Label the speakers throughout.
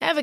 Speaker 1: Ever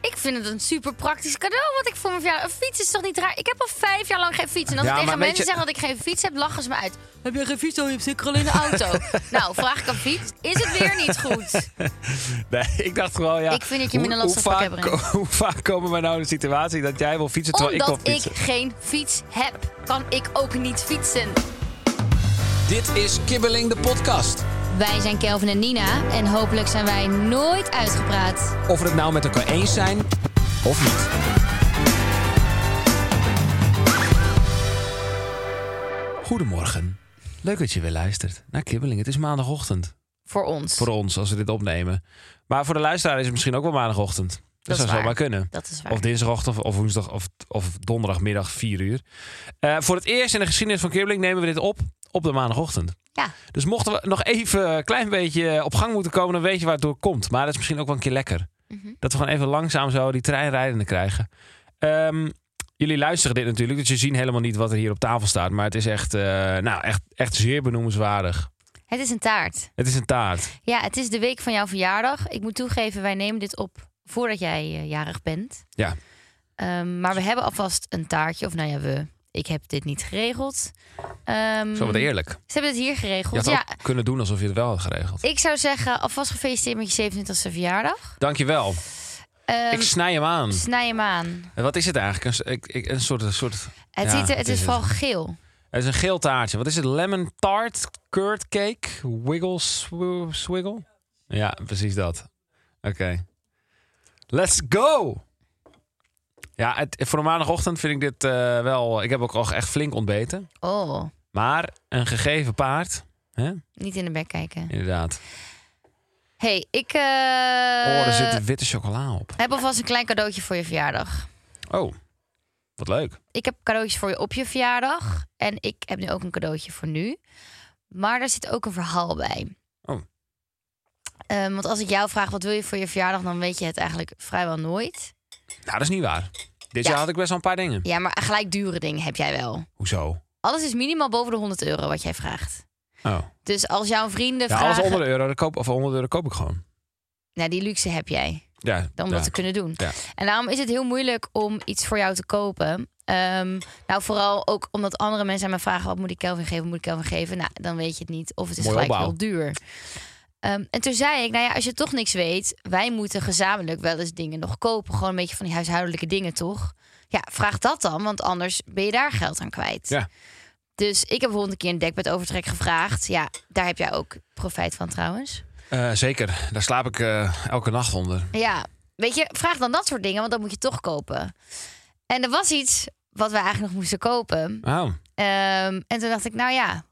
Speaker 2: Ik vind het een super praktisch cadeau wat ik voor mijn verjaardag... Een fiets is toch niet raar? Ik heb al vijf jaar lang geen fiets. En als
Speaker 3: Ja,
Speaker 2: ik
Speaker 3: maar
Speaker 2: tegen mensen
Speaker 3: weet je-
Speaker 2: zeg dat ik geen fiets heb, lachen ze me uit. Heb je geen fiets? Dan heb je zeker alleen een auto. nou, vraag ik een fiets. Is het weer niet goed?
Speaker 3: Nee, ik dacht gewoon, ja.
Speaker 2: Ik vind dat je me in een
Speaker 3: hoe-
Speaker 2: lastig
Speaker 3: hoe
Speaker 2: vak
Speaker 3: vaak-
Speaker 2: hebt,
Speaker 3: Hoe vaak komen we nou in een situatie dat jij wil fietsen terwijl ik
Speaker 2: Omdat
Speaker 3: wil
Speaker 2: ik
Speaker 3: fietsen?
Speaker 2: geen fiets heb, kan ik ook niet fietsen.
Speaker 4: Dit is Kibbeling de podcast.
Speaker 2: Wij zijn Kelvin en Nina. En hopelijk zijn wij nooit uitgepraat.
Speaker 4: Of we het nou met elkaar eens zijn of niet. Goedemorgen. Leuk dat je weer luistert naar Kibbeling. Het is maandagochtend
Speaker 2: Voor ons.
Speaker 4: voor ons als we dit opnemen. Maar voor de luisteraar is het misschien ook wel maandagochtend.
Speaker 2: is
Speaker 4: Dat, zou
Speaker 2: waar.
Speaker 4: zomaar kunnen.
Speaker 2: Dat is waar.
Speaker 4: Of dinsdagochtend, of woensdag, of, of donderdagmiddag, 4 uur. Eh, voor het eerst in de geschiedenis van Kibbeling nemen we dit op op de maandagochtend.
Speaker 2: Ja.
Speaker 4: Dus mochten we nog even een klein beetje op gang moeten komen, dan weet je waar het door komt. Maar dat is misschien ook wel een keer lekker.
Speaker 2: Mhm.
Speaker 4: Dat we gewoon even langzaam zo die trein rijdende krijgen. Ehm, jullie luisteren dit natuurlijk, dus je ziet helemaal niet wat er hier op tafel staat. Maar het is echt, eh, nou, echt, echt zeer benoemenswaardig.
Speaker 2: Het is een taart.
Speaker 4: Het is een taart.
Speaker 2: Ja, het is de week van jouw verjaardag. Ik moet toegeven, wij nemen dit op voordat jij eh, jarig bent.
Speaker 4: Ja.
Speaker 2: Ehm, maar we hebben alvast een taartje. Of nou ja, we. Ik heb dit niet geregeld. Ehm,
Speaker 4: Zo wat eerlijk.
Speaker 2: Ze hebben het hier
Speaker 4: Je
Speaker 2: geregeld.
Speaker 4: had
Speaker 2: Ja,
Speaker 4: ook kunnen doen alsof je het wel had geregeld.
Speaker 2: ik zou zeggen, alvast gefeliciteerd met je 27e verjaardag.
Speaker 4: Dankjewel.
Speaker 2: Ehm,
Speaker 4: ik snij hem aan.
Speaker 2: Snij hem aan.
Speaker 4: En Wat is het eigenlijk? Een, s- ik- ik- een soort... Een soort
Speaker 2: Het,
Speaker 4: ja,
Speaker 2: ziet er- het is, vooral geel.
Speaker 4: Het is een geel taartje. Wat is het? Lemon tart, curd cake, wiggle sw- swiggle? Ja, precies dat. Oké. Let's go! Ja, het, voor een maandagochtend vind ik dit eh, wel... Ik heb ook al echt flink ontbeten.
Speaker 2: Oh,
Speaker 4: Maar een gegeven paard, hè?
Speaker 2: niet in de bek kijken.
Speaker 4: inderdaad.
Speaker 2: hey, ik eh,
Speaker 4: oh, er zit witte chocola op.
Speaker 2: heb alvast een klein cadeautje voor je verjaardag.
Speaker 4: Oh, wat leuk.
Speaker 2: ik heb cadeautjes voor je op je verjaardag. En ik heb nu ook een cadeautje voor nu. Maar daar zit ook een verhaal bij.
Speaker 4: Oh.
Speaker 2: Ehm, want als ik jou vraag wat wil je voor je verjaardag, dan weet je het eigenlijk vrijwel nooit.
Speaker 4: Nou, dat is niet waar. Dit
Speaker 2: Ja.
Speaker 4: jaar had ik best wel een paar dingen.
Speaker 2: Ja, maar gelijk dure dingen heb jij wel.
Speaker 4: Hoezo?
Speaker 2: Alles is minimaal boven de 100 euro wat jij vraagt.
Speaker 4: Oh.
Speaker 2: Dus als jouw vrienden
Speaker 4: Ja, alles
Speaker 2: vragen...
Speaker 4: onder de euro, dat koop, of onder de euro koop ik gewoon.
Speaker 2: Nou, die luxe heb jij.
Speaker 4: Ja,
Speaker 2: om
Speaker 4: ja.
Speaker 2: dat te kunnen doen.
Speaker 4: Ja.
Speaker 2: En daarom is het heel moeilijk om iets voor jou te kopen. Ehm, nou, vooral ook omdat andere mensen aan me vragen... wat moet ik Kelvin geven, wat moet ik Kelvin geven? Nou, dan weet je het niet. Of het is
Speaker 4: Mooi
Speaker 2: gelijk
Speaker 4: opbouw.
Speaker 2: heel duur. Ehm, en toen zei ik, nou ja, als je toch niks weet... wij moeten gezamenlijk wel eens dingen nog kopen. Gewoon een beetje van die huishoudelijke dingen, toch? Ja, vraag dat dan, want anders ben je daar geld aan kwijt.
Speaker 4: Ja.
Speaker 2: Dus ik heb bijvoorbeeld een keer een dekbed overtrek gevraagd. Ja, daar heb jij ook profijt van trouwens.
Speaker 4: Eh, zeker, daar slaap ik eh, elke nacht onder.
Speaker 2: Ja, weet je, vraag dan dat soort dingen, want dat moet je toch kopen. En er was iets wat we eigenlijk nog moesten kopen.
Speaker 4: Oh,
Speaker 2: Ehm, en toen dacht ik, nou ja,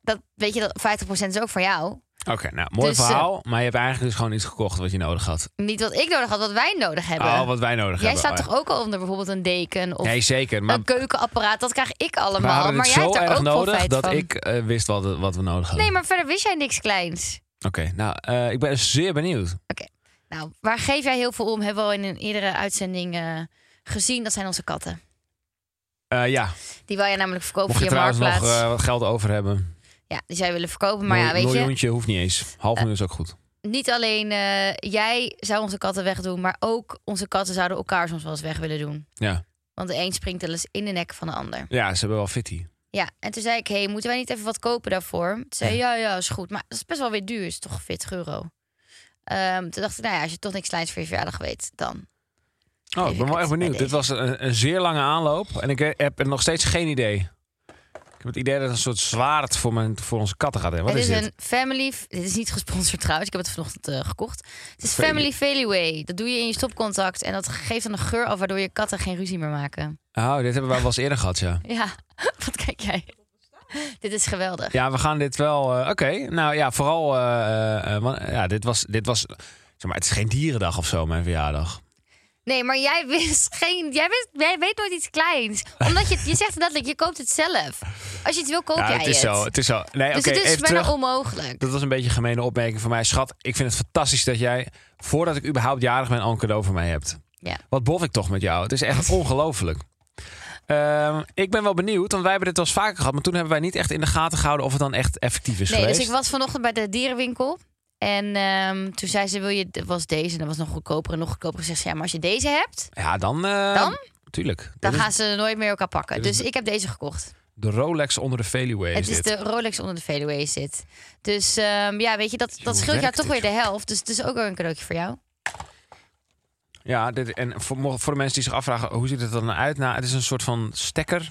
Speaker 2: dat weet je, dat 50% is ook voor jou.
Speaker 4: oké. nou, mooi
Speaker 2: Dus, eh,
Speaker 4: verhaal. maar je hebt eigenlijk dus gewoon iets gekocht wat je nodig had.
Speaker 2: Niet wat ik nodig had, wat wij nodig hebben.
Speaker 4: Al Oh, wat wij nodig
Speaker 2: jij
Speaker 4: hebben. Oh,
Speaker 2: staat toch ook al onder bijvoorbeeld een deken of
Speaker 4: Nee, zeker. Maar
Speaker 2: een keukenapparaat? Dat krijg ik
Speaker 4: we
Speaker 2: allemaal.
Speaker 4: hadden
Speaker 2: Maar
Speaker 4: het
Speaker 2: jij
Speaker 4: zo
Speaker 2: hebt er
Speaker 4: erg
Speaker 2: ook
Speaker 4: nodig
Speaker 2: profijt
Speaker 4: dat
Speaker 2: van.
Speaker 4: ik eh, wist wat, wat we nodig hadden.
Speaker 2: Nee, maar verder wist jij niks kleins.
Speaker 4: Oké, nou, eh, ik ben zeer benieuwd.
Speaker 2: Nou, waar geef jij heel veel om? Hebben we al in een eerdere uitzending eh, gezien. Dat zijn onze katten.
Speaker 4: Eh, ja,
Speaker 2: Die wil jij namelijk verkopen
Speaker 4: mocht je
Speaker 2: via
Speaker 4: trouwens nog
Speaker 2: Marktplaats.
Speaker 4: eh, wat geld over hebben.
Speaker 2: Ja, die zij willen verkopen. Maar ja, weet je, Eh.
Speaker 4: miljoentje hoeft niet eens. Half miljoen is ook goed.
Speaker 2: niet alleen eh, jij zou onze katten wegdoen, maar ook onze katten zouden elkaar soms wel eens weg willen doen.
Speaker 4: Ja.
Speaker 2: Want de een springt wel eens in de nek van de ander.
Speaker 4: ja, ze hebben wel fitty.
Speaker 2: Ja, en toen zei ik, hey, moeten wij niet even wat kopen daarvoor? Toen zei hij, ja, ja, is goed. Maar dat is best wel weer duur, is toch 40 euro. Ehm, toen dacht ik, nou ja, als je toch niks kleins voor je verjaardag weet, dan.
Speaker 4: Oh, ik ben wel
Speaker 2: Even
Speaker 4: echt benieuwd.
Speaker 2: bij
Speaker 4: Dit was een, een zeer lange aanloop en ik heb er nog steeds geen idee. Ik heb het idee dat het een soort zwaard voor, mijn, voor onze katten gaat hebben. Wat
Speaker 2: het
Speaker 4: is
Speaker 2: is,
Speaker 4: dit?
Speaker 2: een family... Dit is niet gesponsord trouwens, ik heb het vanochtend eh, gekocht. Het is Family
Speaker 4: Family-
Speaker 2: Failway. Dat doe je in je stopcontact en dat geeft dan een geur af... waardoor je katten geen ruzie meer maken.
Speaker 4: Oh, dit hebben we wel eens eerder gehad, ja.
Speaker 2: Ja, wat kijk jij? Dit is geweldig.
Speaker 4: Ja, we gaan dit wel. eh, Oké, nou ja, vooral. eh, eh, want, ja, dit was, dit was. Zeg maar, het is geen dierendag of zo, mijn verjaardag.
Speaker 2: Nee, maar jij wist geen. Jij, wist, jij weet nooit iets kleins. Omdat je, je zegt letterlijk, je koopt het zelf. Als je het wil, koop
Speaker 4: ja,
Speaker 2: jij
Speaker 4: Nou, het is zo. Het is zo. Nee,
Speaker 2: Dus
Speaker 4: oké,
Speaker 2: het is
Speaker 4: even
Speaker 2: bijna
Speaker 4: terug.
Speaker 2: onmogelijk.
Speaker 4: Dat was een beetje een gemene opmerking van mij. Schat, ik vind het fantastisch dat jij, voordat ik überhaupt jarig ben, al een cadeau voor mij hebt.
Speaker 2: Ja.
Speaker 4: Wat bof ik toch met jou? Het is echt ongelooflijk. Ehm, ik ben wel benieuwd, want wij hebben dit wel eens vaker gehad. Maar toen hebben wij niet echt in de gaten gehouden of het dan echt effectief is
Speaker 2: Nee,
Speaker 4: geweest.
Speaker 2: dus ik was vanochtend bij de dierenwinkel. En ehm, toen zei ze, wil je, het was deze, en dat was nog goedkoper en nog goedkoper. Ze zegt, ja, maar als je deze hebt,
Speaker 4: Ja, dan... eh,
Speaker 2: Dan?
Speaker 4: Tuurlijk.
Speaker 2: dan
Speaker 4: Dit is
Speaker 2: gaan ze nooit meer elkaar pakken.
Speaker 4: dit is
Speaker 2: Dus ik heb deze gekocht.
Speaker 4: De Rolex onder de Veluwe
Speaker 2: Het
Speaker 4: is
Speaker 2: is
Speaker 4: dit.
Speaker 2: de Rolex onder de Fadeaway zit. Dus ehm, ja, weet je, dat,
Speaker 4: hoe
Speaker 2: dat scheelt jou
Speaker 4: werkt
Speaker 2: toch
Speaker 4: dit,
Speaker 2: weer de helft. Dus het is ook weer een cadeautje voor jou.
Speaker 4: Ja, dit, en voor, mo- voor de mensen die zich afvragen, hoe ziet het er dan uit? Nou, het is een soort van stekker.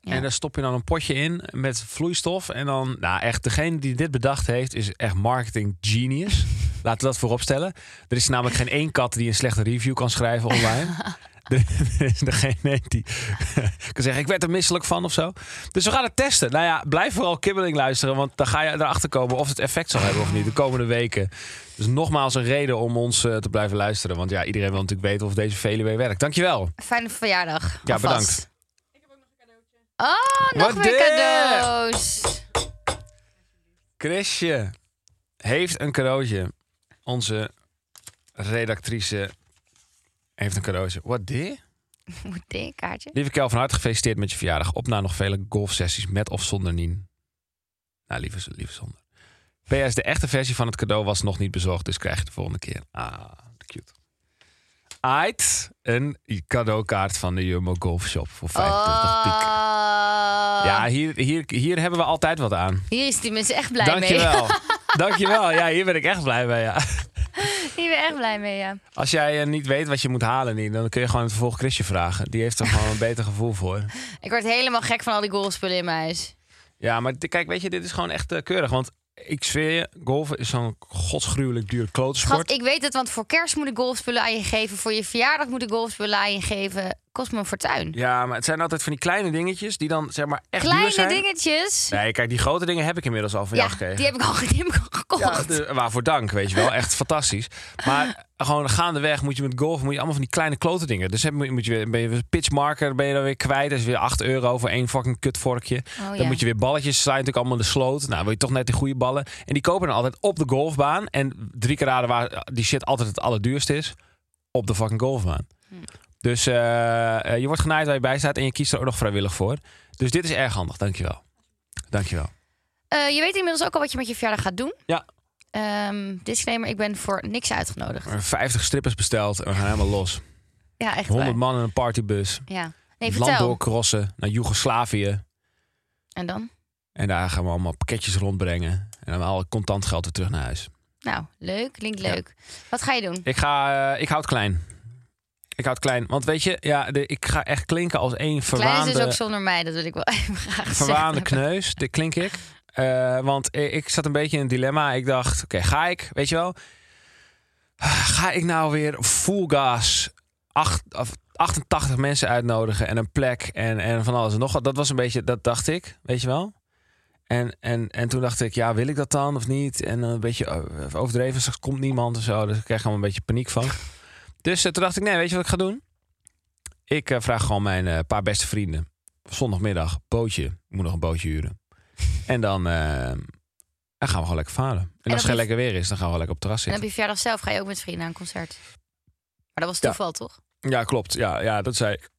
Speaker 2: Ja.
Speaker 4: En daar stop je dan een potje in met vloeistof. En dan, nou echt, degene die dit bedacht heeft, is echt marketing genius. Laten we dat voorop stellen. Er is namelijk geen één kat die een slechte review kan schrijven online. Er er is er geen één die kan zeggen, ik werd er misselijk van of zo. Dus we gaan het testen. Nou ja, blijf vooral kibbeling luisteren. Want dan ga je erachter komen of het effect zal hebben of niet. De komende weken. Dus nogmaals een reden om ons eh, te blijven luisteren. Want ja, iedereen wil natuurlijk weten of deze Veluwe werkt. Dankjewel.
Speaker 2: Fijne verjaardag.
Speaker 4: Ja,
Speaker 2: alvast.
Speaker 4: bedankt.
Speaker 2: Oh, nog
Speaker 4: Wat
Speaker 2: meer
Speaker 4: dit?
Speaker 2: cadeaus.
Speaker 4: Chrisje heeft een cadeautje. Onze redactrice heeft een cadeautje. Wat dit?
Speaker 2: Moet dit kaartje?
Speaker 4: Lieve Kel, van harte gefeliciteerd met je verjaardag. Op naar nog vele golfsessies met of zonder Nien. Nou, lieve, lieve zonder. PS, de echte versie van het cadeau was nog niet bezorgd, dus krijg je de volgende keer. Ah, cute. Ait, een cadeaukaart van de Jumbo Golf Shop voor 85
Speaker 2: Ah.
Speaker 4: piek.
Speaker 2: Oh.
Speaker 4: Ja, hier, hier, hier hebben we altijd wat aan.
Speaker 2: Hier is die mensen echt blij mee.
Speaker 4: Dankjewel. Dankjewel. Ja, hier ben ik echt blij mee. Ja.
Speaker 2: Hier ben ik echt blij mee, ja.
Speaker 4: Als jij eh, niet weet wat je moet halen, Nien, dan kun je gewoon het vervolg Chrisje vragen. Die heeft er gewoon een beter gevoel voor.
Speaker 2: Ik word helemaal gek van al die golfspullen in mijn huis.
Speaker 4: Ja, maar di- kijk, weet je, dit is gewoon echt eh, keurig. Want ik zweer je, golven is zo'n godsgruwelijk duur
Speaker 2: Schat,
Speaker 4: klotensport.
Speaker 2: ik weet het, want voor kerst moet ik golfspullen aan je geven. Voor je verjaardag moet ik golfspullen aan je geven. Kost me een fortuin.
Speaker 4: Ja, maar het zijn altijd van die kleine dingetjes die dan zeg maar echt duur
Speaker 2: Kleine
Speaker 4: zijn.
Speaker 2: dingetjes.
Speaker 4: Nee, kijk, die grote dingen heb ik inmiddels al van
Speaker 2: ja,
Speaker 4: jou gekregen.
Speaker 2: die heb ik al, die heb ik al gekocht.
Speaker 4: Ja, dus- de- waarvoor dank, weet je wel. Echt fantastisch. Maar gewoon gaandeweg moet je met golf moet je allemaal van die kleine klote dingen. Dus heb, moet je, weer- ben je weer pitchmarker, ben je dan weer kwijt. Dat is weer 8 euro voor één fucking kutvorkje.
Speaker 2: Oh,
Speaker 4: dan
Speaker 2: ja.
Speaker 4: moet je weer balletjes, slaan natuurlijk allemaal in de sloot. Nou, wil je toch net die goede ballen. En die kopen dan altijd op de golfbaan. En drie keer raden waar die shit altijd het allerduurste is. Op de fucking golfbaan.
Speaker 2: Hm.
Speaker 4: Dus eh, eh, je wordt genaaid waar je bij staat en je kiest er ook nog vrijwillig voor. Dus dit is erg handig, dankjewel. Dankjewel.
Speaker 2: Eh, je weet inmiddels ook al wat je met je verjaardag gaat doen.
Speaker 4: Ja.
Speaker 2: Ehm, disclaimer, ik ben voor niks uitgenodigd.
Speaker 4: 50 strippers besteld en we gaan helemaal los.
Speaker 2: Ja, echt
Speaker 4: 100
Speaker 2: waar.
Speaker 4: man in een partybus.
Speaker 2: Ja. Nee,
Speaker 4: land
Speaker 2: vertel.
Speaker 4: doorkrossen naar Joegoslavië.
Speaker 2: En dan?
Speaker 4: En daar gaan we allemaal pakketjes rondbrengen. En dan al het contant geld weer terug naar huis.
Speaker 2: Nou, leuk, klinkt
Speaker 4: Ja.
Speaker 2: leuk. Wat ga je doen?
Speaker 4: Ik ga, eh, ik houd klein. Ik houd klein. Want weet je, ja, de, ik ga echt klinken als
Speaker 2: Klein
Speaker 4: één
Speaker 2: is dus ook
Speaker 4: verwaande,
Speaker 2: zonder mij, dat wil ik wel even graag zeggen.
Speaker 4: verwaande kneus. Dit klink ik. Eh, want i- ik zat een beetje in een dilemma. Ik dacht, oké, ga ik, weet je wel. Ga ik nou weer full gas acht, of 88 mensen uitnodigen en een plek en, en van alles en nog wat. Dat was een beetje, dat dacht ik, weet je wel. En, en, en toen dacht ik, ja, wil ik dat dan of niet? En dan een beetje eh, overdreven, straks komt niemand en zo. Dus ik kreeg gewoon een beetje paniek van. Dus eh, toen dacht ik, nee, weet je wat ik ga doen? Ik eh, vraag gewoon mijn eh, paar beste vrienden. Zondagmiddag, bootje. Ik moet nog een bootje huren. En dan, eh, dan gaan we gewoon lekker varen. En,
Speaker 2: op
Speaker 4: als het geen
Speaker 2: je-
Speaker 4: lekker weer is, dan gaan we lekker op het terras
Speaker 2: En
Speaker 4: zitten.
Speaker 2: op je verjaardag zelf ga je ook met vrienden naar een concert. Maar dat was
Speaker 4: Ja.
Speaker 2: toeval, toch?
Speaker 4: Ja, klopt. Ja, ja dat zei ik.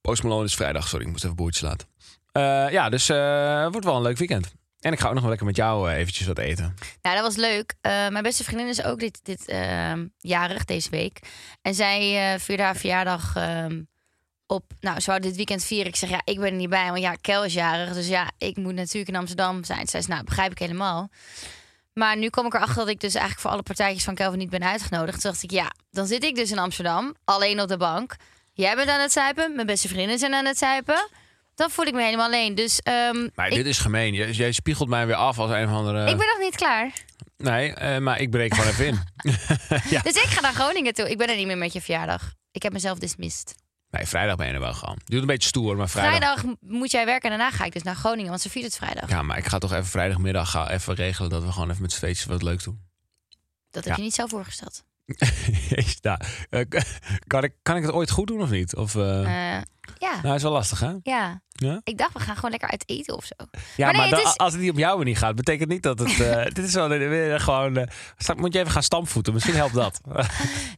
Speaker 4: Post Malone is vrijdag. Sorry, ik moest even boertjes laten. Eh, ja, dus eh, wordt wel een leuk weekend. En ik ga ook nog wel lekker met jou eh, eventjes wat eten.
Speaker 2: Nou, dat was leuk. Eh, mijn beste vriendin is ook dit, dit ehm, jarig deze week. En zij eh vierde haar verjaardag ehm, op. Nou, ze wou dit weekend vieren. Ik zeg ja, ik ben er niet bij. Want ja, Kel is jarig. Dus ja, ik moet natuurlijk in Amsterdam zijn. Zij is, nou, begrijp ik helemaal. Maar nu kom ik erachter dat ik dus eigenlijk voor alle partijtjes van Kelvin niet ben uitgenodigd. Toen dacht ik, ja, dan zit ik dus in Amsterdam, alleen op de bank. Jij bent aan het zuipen, mijn beste vriendinnen zijn aan het zuipen. Dan voel ik me helemaal alleen. Dus ehm,
Speaker 4: Maar
Speaker 2: ik,
Speaker 4: dit is gemeen. Jij, jij spiegelt mij weer af als een van de. eh,
Speaker 2: ik ben nog niet klaar.
Speaker 4: Nee, eh, maar ik breek gewoon even in.
Speaker 2: Dus ik ga naar Groningen toe. Ik ben er niet meer met je verjaardag. Ik heb mezelf dismissed.
Speaker 4: Nee, vrijdag ben je er wel gewoon. Je doet een beetje stoer, maar vrijdag...
Speaker 2: Vrijdag m- moet jij werken en daarna ga ik dus naar Groningen, want ze viert het vrijdag.
Speaker 4: Ja, maar ik ga toch even vrijdagmiddag ga even regelen dat we gewoon even met z'n tweetjes wat leuks doen.
Speaker 2: Dat heb
Speaker 4: Ja.
Speaker 2: je niet zo voorgesteld.
Speaker 4: Jezus, nou, eh, kan, ik, kan ik het ooit goed doen of niet? Of, eh,
Speaker 2: Eh, ja,
Speaker 4: nou, is wel lastig, hè?
Speaker 2: ja.
Speaker 4: Ja?
Speaker 2: Ik dacht, we gaan gewoon lekker uit eten of zo.
Speaker 4: Ja,
Speaker 2: Maar
Speaker 4: maar,
Speaker 2: nee, het
Speaker 4: dan-
Speaker 2: is-
Speaker 4: als het niet op jouw manier gaat, betekent niet dat het... eh, dit is wel weer gewoon... eh, sta- moet je even gaan stampvoeten, misschien helpt dat.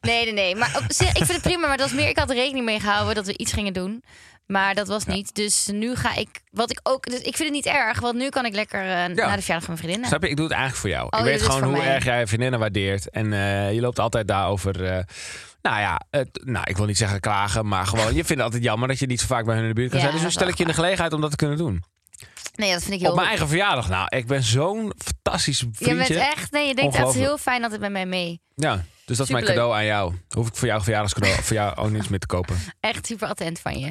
Speaker 2: Nee, nee, nee. Maar op zich, ik vind het prima. Maar dat was meer, ik had er rekening mee gehouden dat we iets gingen doen. Maar dat was niet. Dus nu ga ik, wat ik ook, dus ik vind het niet erg. Want nu kan ik lekker eh, naar de verjaardag van mijn vriendinnen.
Speaker 4: Snap je? Ik doe het eigenlijk voor jou.
Speaker 2: je
Speaker 4: ik
Speaker 2: doet
Speaker 4: weet
Speaker 2: het
Speaker 4: gewoon
Speaker 2: Oh, voor
Speaker 4: hoe
Speaker 2: mij.
Speaker 4: erg jij je vriendinnen waardeert. En eh, je loopt altijd daarover... eh, nou ja, het- nou, ik wil niet zeggen klagen, maar gewoon... Je vindt het altijd jammer dat je niet zo vaak bij hun in de buurt kan
Speaker 2: Ja,
Speaker 4: zijn. Dus nu
Speaker 2: dat is
Speaker 4: stel ik je in de gelegenheid om dat te kunnen doen.
Speaker 2: Nee, dat vind ik
Speaker 4: Op
Speaker 2: heel...
Speaker 4: mijn eigen verjaardag. Nou, ik ben zo'n fantastisch vriendje.
Speaker 2: je bent echt, nee, je denkt echt
Speaker 4: Ongelooflijk.
Speaker 2: heel fijn dat het bij mij mee.
Speaker 4: Ja, dus dat is
Speaker 2: Superleuk.
Speaker 4: mijn cadeau aan jou. Hoef ik voor jou verjaardagscadeau voor jou ook niks meer te kopen.
Speaker 2: Echt super attent van je.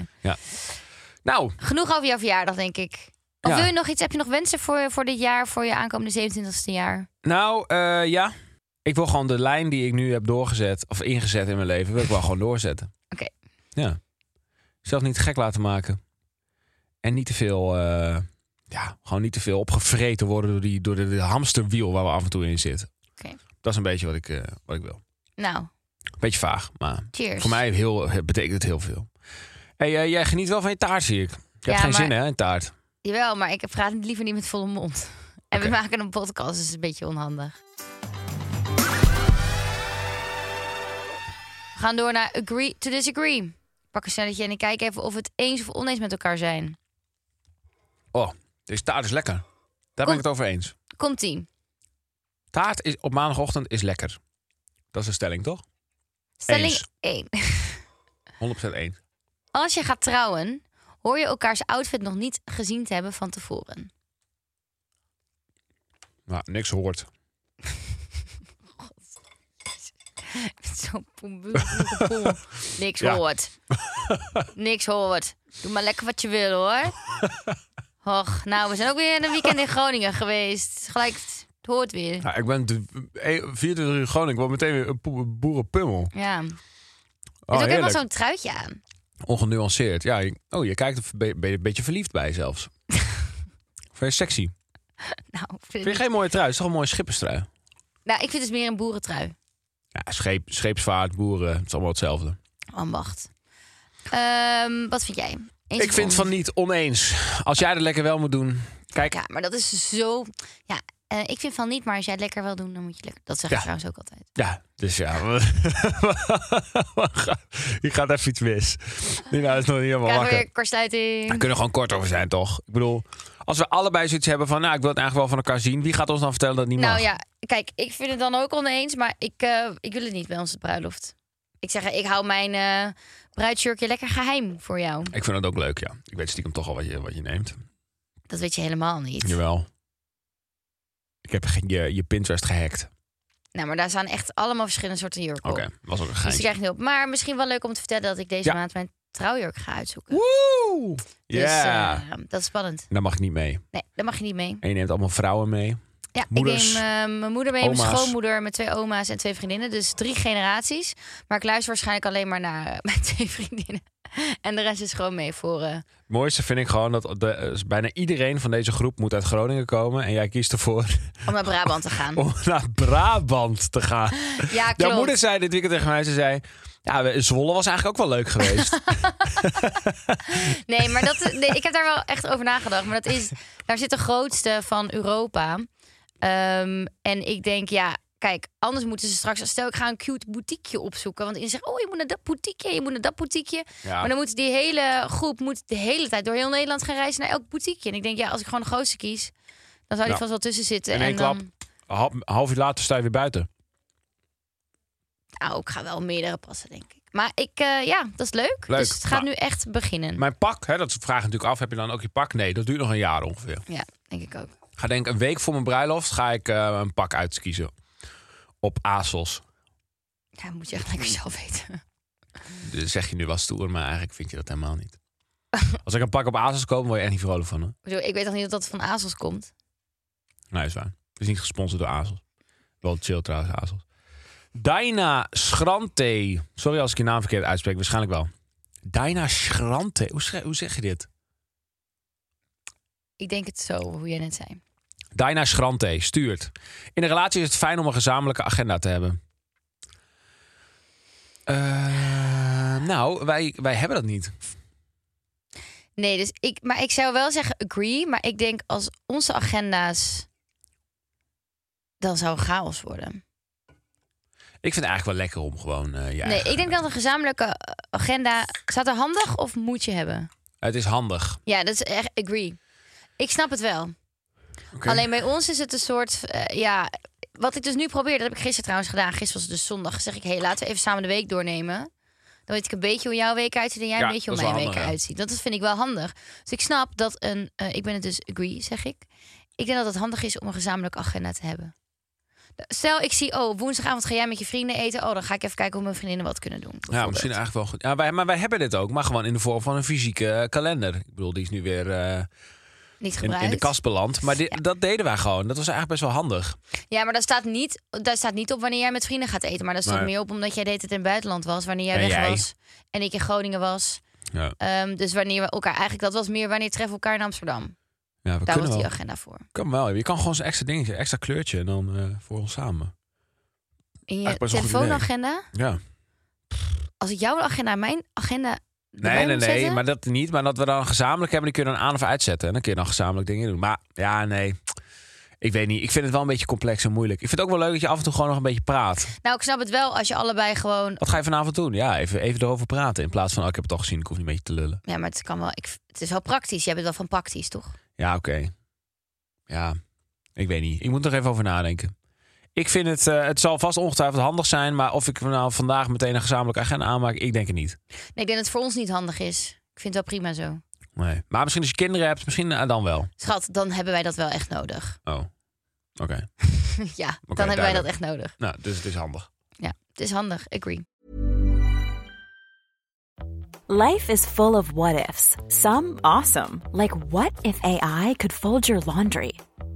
Speaker 4: Nou,
Speaker 2: Genoeg over jouw verjaardag, denk ik. Of
Speaker 4: Ja.
Speaker 2: wil je nog iets? Heb je nog wensen voor, voor dit jaar, voor je aankomende 27e jaar?
Speaker 4: nou eh, ja. Ik wil gewoon de lijn die ik nu heb doorgezet, of ingezet in mijn leven, wil ik wel gewoon doorzetten.
Speaker 2: Oké.
Speaker 4: Ja. Zelf niet gek laten maken. En niet te veel, eh, ja, gewoon niet te veel opgevreten worden door, die, door de hamsterwiel waar we af en toe in zitten.
Speaker 2: Oké.
Speaker 4: Dat is een beetje wat ik, eh, wat ik wil.
Speaker 2: Nou,
Speaker 4: Beetje vaag, maar
Speaker 2: cheers.
Speaker 4: Voor mij heel, betekent het heel veel. Hey, eh, jij geniet wel van je taart, zie ik. Je
Speaker 2: Ja,
Speaker 4: hebt geen
Speaker 2: maar-
Speaker 4: zin hè, in taart.
Speaker 2: Jawel, maar ik praat liever niet met volle mond. En we
Speaker 4: Oké.
Speaker 2: maken een podcast, dus een beetje onhandig. We gaan door naar agree to disagree. Ik pak een snelletje en ik kijk even of we het eens of oneens met elkaar zijn.
Speaker 4: Oh, deze taart is lekker. Daar ben ik het over eens.
Speaker 2: Komt-ie.
Speaker 4: Taart is, op maandagochtend is lekker. Dat is een stelling, toch?
Speaker 2: Stelling
Speaker 4: Eens.
Speaker 2: 1.
Speaker 4: 100% eens.
Speaker 2: Als je gaat trouwen, hoor je elkaars outfit nog niet gezien te hebben van tevoren.
Speaker 4: Nou, niks hoort.
Speaker 2: Zo'n poem- poem. Niks
Speaker 4: Ja.
Speaker 2: hoort. Niks hoort. Doe maar lekker wat je wil hoor. Och, nou, we zijn ook weer een weekend in Groningen geweest. Gelijk, het hoort weer.
Speaker 4: Ja, Nou, ik ben de- eh, 24 uur Groningen. Ik word meteen weer een poe- boerenpummel.
Speaker 2: Ja. Er is
Speaker 4: Oh,
Speaker 2: ook helemaal
Speaker 4: heerlijk.
Speaker 2: zo'n truitje aan.
Speaker 4: Ongenuanceerd. Ja, je- oh, je kijkt er be- be- een beetje verliefd bij zelfs. Vind je sexy?
Speaker 2: Nou, ik vind
Speaker 4: Vind
Speaker 2: het
Speaker 4: je geen mooie trui? Het is toch een mooie schipperstrui?
Speaker 2: niet- nou, ik vind het meer een boerentrui.
Speaker 4: Ja, scheep, scheepsvaart, boeren. Het is allemaal hetzelfde.
Speaker 2: Ambacht. Ehm, wat vind jij? Eens
Speaker 4: Ik
Speaker 2: of
Speaker 4: vind van
Speaker 2: oneens?
Speaker 4: niet oneens. Als jij het lekker wel moet doen. Kijk,
Speaker 2: Ja, maar dat is zo... Ja, eh, ik vind van niet, maar als jij het lekker wil doen, dan moet je lekker... Dat zeg ik
Speaker 4: Ja.
Speaker 2: trouwens ook altijd.
Speaker 4: ja, dus ja. we gaan- Hier gaat even iets mis. Nina is nog niet
Speaker 2: Krijgen
Speaker 4: helemaal
Speaker 2: we
Speaker 4: wakker.
Speaker 2: weer kortsluiting.
Speaker 4: Daar kunnen we gewoon kort over zijn, toch? Ik bedoel, als we allebei zoiets hebben van... nou, ik wil het eigenlijk wel van elkaar zien. Wie gaat ons dan vertellen dat het niet
Speaker 2: Nou
Speaker 4: mag?
Speaker 2: ja, kijk, ik vind het dan ook oneens, maar ik, eh, ik wil het niet bij onze bruiloft. Ik zeg, ik hou mijn eh bruidsjurkje lekker geheim voor jou.
Speaker 4: Ik vind dat ook leuk, ja. Ik weet stiekem toch al wat je, wat je neemt.
Speaker 2: Dat weet je helemaal niet.
Speaker 4: Jawel. Ik heb geen- je, je Pinterest gehackt.
Speaker 2: Nou, maar daar staan echt allemaal verschillende soorten jurken
Speaker 4: Oké,
Speaker 2: op.
Speaker 4: was ook
Speaker 2: Dus
Speaker 4: een
Speaker 2: die
Speaker 4: geintje.
Speaker 2: krijg je niet op. Maar misschien wel leuk om te vertellen dat ik deze
Speaker 4: Ja.
Speaker 2: maand mijn trouwjurk ga uitzoeken.
Speaker 4: Woe! Ja.
Speaker 2: Dus eh, dat is spannend.
Speaker 4: Daar mag ik niet mee.
Speaker 2: Nee, daar mag je niet mee.
Speaker 4: En je neemt allemaal vrouwen mee.
Speaker 2: Ja,
Speaker 4: Moeders,
Speaker 2: ik neem eh, mijn moeder mee, mijn
Speaker 4: oma's.
Speaker 2: schoonmoeder, mijn twee oma's en twee vriendinnen. Dus drie generaties. Maar ik luister waarschijnlijk alleen maar naar eh, mijn twee vriendinnen. En de rest is gewoon mee voor... eh,
Speaker 4: Het mooiste vind ik gewoon dat de, eh, bijna iedereen van deze groep moet uit Groningen komen. En jij kiest ervoor
Speaker 2: om naar Brabant te gaan.
Speaker 4: om naar Brabant te gaan.
Speaker 2: Ja, Ah, klopt.
Speaker 4: Oh. Jouw moeder zei dit weekend tegen mij, ze zei... Ja, we- Zwolle was eigenlijk ook wel leuk geweest.
Speaker 2: Nee, maar dat, nee, ik heb daar wel echt over nagedacht. Maar dat is, daar zit de grootste van Europa. Ehm, en ik denk, ja, kijk, anders moeten ze straks... Stel, ik ga een cute boutiqueje opzoeken. Want iedereen zegt, oh, je moet naar dat boutiqueje, je moet naar dat boutiqueje.
Speaker 4: Ja.
Speaker 2: Maar dan moet die hele groep moet de hele tijd door heel Nederland gaan reizen naar elk boutiqueje. En ik denk, ja, als ik gewoon de grootste kies, dan zou die
Speaker 4: Ja.
Speaker 2: vast wel tussen zitten.
Speaker 4: In één
Speaker 2: en dan,
Speaker 4: Hal- half uur later sta je weer buiten.
Speaker 2: Nou, ik ga wel meerdere passen, denk ik. Maar ik, eh, ja, dat is leuk.
Speaker 4: Leuk, Nou.
Speaker 2: Dus het gaat
Speaker 4: maar-
Speaker 2: nu echt beginnen.
Speaker 4: Mijn pak, hè, dat vraag ik natuurlijk af. Heb je dan ook je pak? Nee, dat duurt nog een jaar ongeveer.
Speaker 2: Ja, denk ik ook.
Speaker 4: Ga denk ik een week voor mijn bruiloft ga ik eh, een pak uitkiezen. Op ASOS.
Speaker 2: Ja, moet je echt lekker zelf weten.
Speaker 4: Dat zeg je nu wel stoer, maar eigenlijk vind je dat helemaal niet. Als ik een pak op ASOS koop, word je echt niet vrolijk van. Hè?
Speaker 2: Ik bedoel, ik weet nog niet of dat van Azos komt.
Speaker 4: Nee, is waar. Het is niet gesponsord door Azos. Wel chill trouwens, Azos. Dina Schrante. Sorry als ik je naam verkeerd uitspreek. Waarschijnlijk wel. Dina Schrante. Hoe, schrijf- hoe zeg je dit?
Speaker 2: Ik denk het zo, hoe jij net zei.
Speaker 4: Dina Schrante stuurt. In een relatie is het fijn om een gezamenlijke agenda te hebben. Eh, nou, wij, wij hebben dat niet.
Speaker 2: Nee, dus ik, maar ik zou wel zeggen agree. Maar ik denk als onze agenda's. dan zou chaos worden.
Speaker 4: Ik vind het eigenlijk wel lekker om gewoon eh, je
Speaker 2: nee,
Speaker 4: eigen-
Speaker 2: ik denk dat een gezamenlijke eh, agenda. staat er handig of moet je hebben?
Speaker 4: Het is handig.
Speaker 2: Ja, dat is echt agree. Ik snap het wel. Alleen bij ons is het een soort. eh, ja, wat ik dus nu probeer, dat heb ik gisteren trouwens gedaan. Gisteren was het dus zondag. Zeg ik, hé, hey, laten we even samen de week doornemen. Dan weet ik een beetje hoe jouw week uitziet en jij
Speaker 4: Ja,
Speaker 2: een beetje hoe
Speaker 4: dat is
Speaker 2: mijn
Speaker 4: wel
Speaker 2: week
Speaker 4: handig, ja.
Speaker 2: uitziet. Dat is- vind ik wel handig. Dus ik snap dat een. eh, ik ben het dus agree, zeg ik. Ik denk dat het handig is om een gezamenlijke agenda te hebben. Stel, ik zie, oh, woensdagavond ga jij met je vrienden eten. Oh, dan ga ik even kijken hoe mijn vriendinnen wat kunnen doen.
Speaker 4: Ja,
Speaker 2: bijvoorbeeld.
Speaker 4: misschien eigenlijk wel goed. Ja, wij, maar wij hebben dit ook, maar gewoon in de vorm van een fysieke eh, kalender. Ik bedoel, die is nu weer eh,
Speaker 2: Niet
Speaker 4: in,
Speaker 2: gebruikt.
Speaker 4: in de kast beland. Maar dit,
Speaker 2: Ja.
Speaker 4: dat deden wij gewoon. Dat was eigenlijk best wel handig.
Speaker 2: Ja, maar daar staat, niet, daar staat niet op wanneer jij met vrienden gaat eten. Maar daar staat
Speaker 4: Nee.
Speaker 2: meer op omdat jij deed het in het buitenland was. Wanneer jij
Speaker 4: En
Speaker 2: weg
Speaker 4: jij.
Speaker 2: was. En ik in Groningen was.
Speaker 4: Ja,
Speaker 2: Ehm, dus wanneer we elkaar... Eigenlijk, dat was meer wanneer treffen we elkaar in Amsterdam.
Speaker 4: ja we
Speaker 2: Daar was
Speaker 4: kunnen
Speaker 2: die
Speaker 4: wel.
Speaker 2: agenda voor.
Speaker 4: Kan wel. Je kan gewoon zo'n extra dingetje, extra kleurtje en dan eh, voor ons samen.
Speaker 2: In je
Speaker 4: Eigenlijk best wel een goed
Speaker 2: telefoonagenda?
Speaker 4: Ja.
Speaker 2: Als ik jouw agenda en mijn agenda
Speaker 4: Nee,
Speaker 2: erbij
Speaker 4: nee,
Speaker 2: moet
Speaker 4: nee,
Speaker 2: zetten?
Speaker 4: maar dat niet. Maar dat we dan gezamenlijk hebben, die kunnen we dan aan of uitzetten. En dan kun je dan gezamenlijk dingen doen. Maar ja, nee. Ik weet niet. Ik vind het wel een beetje complex en moeilijk. Ik vind het ook wel leuk dat je af en toe gewoon nog een beetje praat.
Speaker 2: Nou, ik snap het wel als je allebei gewoon...
Speaker 4: Wat ga je vanavond doen? Ja, even, even erover praten. In plaats van, oh, ik heb het al gezien, ik hoef niet een beetje te lullen.
Speaker 2: Ja, maar het kan wel... Ik, het is wel praktisch. Jij bent wel van praktisch, toch?
Speaker 4: Ja, oké. Ja, ik weet niet. Ik moet er even over nadenken. Ik vind het, eh, het zal vast ongetwijfeld handig zijn, maar of ik nou vandaag meteen een gezamenlijke agenda aanmaak, ik denk het niet.
Speaker 2: Nee, ik denk dat het voor ons niet handig is. Ik vind het wel prima zo.
Speaker 4: Nee. Maar misschien als je kinderen hebt, misschien eh, dan wel.
Speaker 2: Schat, dan hebben wij dat wel echt nodig.
Speaker 4: Oh, oké.
Speaker 2: ja, dan hebben wij dat
Speaker 4: duidelijk.
Speaker 2: echt nodig.
Speaker 4: Nou, dus het is handig.
Speaker 2: Ja, het is handig. Agree.
Speaker 5: Life is full of what ifs. Some awesome, like what if AI could fold your laundry?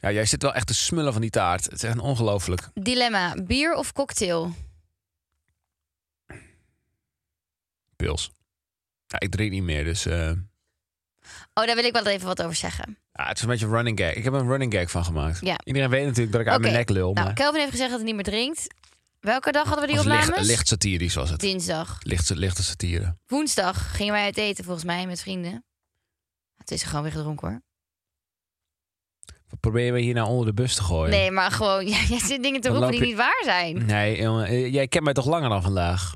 Speaker 4: Ja, jij zit wel echt te smullen van die taart. Het is echt ongelooflijk.
Speaker 2: Dilemma, bier of cocktail?
Speaker 4: Pils. Ja, ik drink niet meer, dus eh,
Speaker 2: Oh, daar wil ik wel even wat over zeggen.
Speaker 4: ja, het is een beetje een running gag. Ik heb er een running gag van gemaakt.
Speaker 2: Ja.
Speaker 4: Iedereen weet natuurlijk dat ik uit
Speaker 2: Oké,
Speaker 4: mijn nek lul, maar
Speaker 2: Nou, Kelvin heeft gezegd dat hij niet meer drinkt. Welke dag hadden we die
Speaker 4: was
Speaker 2: opnames?
Speaker 4: licht, licht satirisch was het.
Speaker 2: Dinsdag.
Speaker 4: Licht, lichte satire.
Speaker 2: Woensdag gingen wij uit eten, volgens mij, met vrienden. Het is gewoon weer gedronken hoor.
Speaker 4: Wat proberen we hier nou onder de bus te gooien?
Speaker 2: Nee, maar gewoon, ja, jij zit dingen te
Speaker 4: Dan
Speaker 2: roepen
Speaker 4: loop
Speaker 2: die
Speaker 4: je-
Speaker 2: niet waar zijn.
Speaker 4: Nee, jongen, eh, jij kent mij toch langer dan vandaag?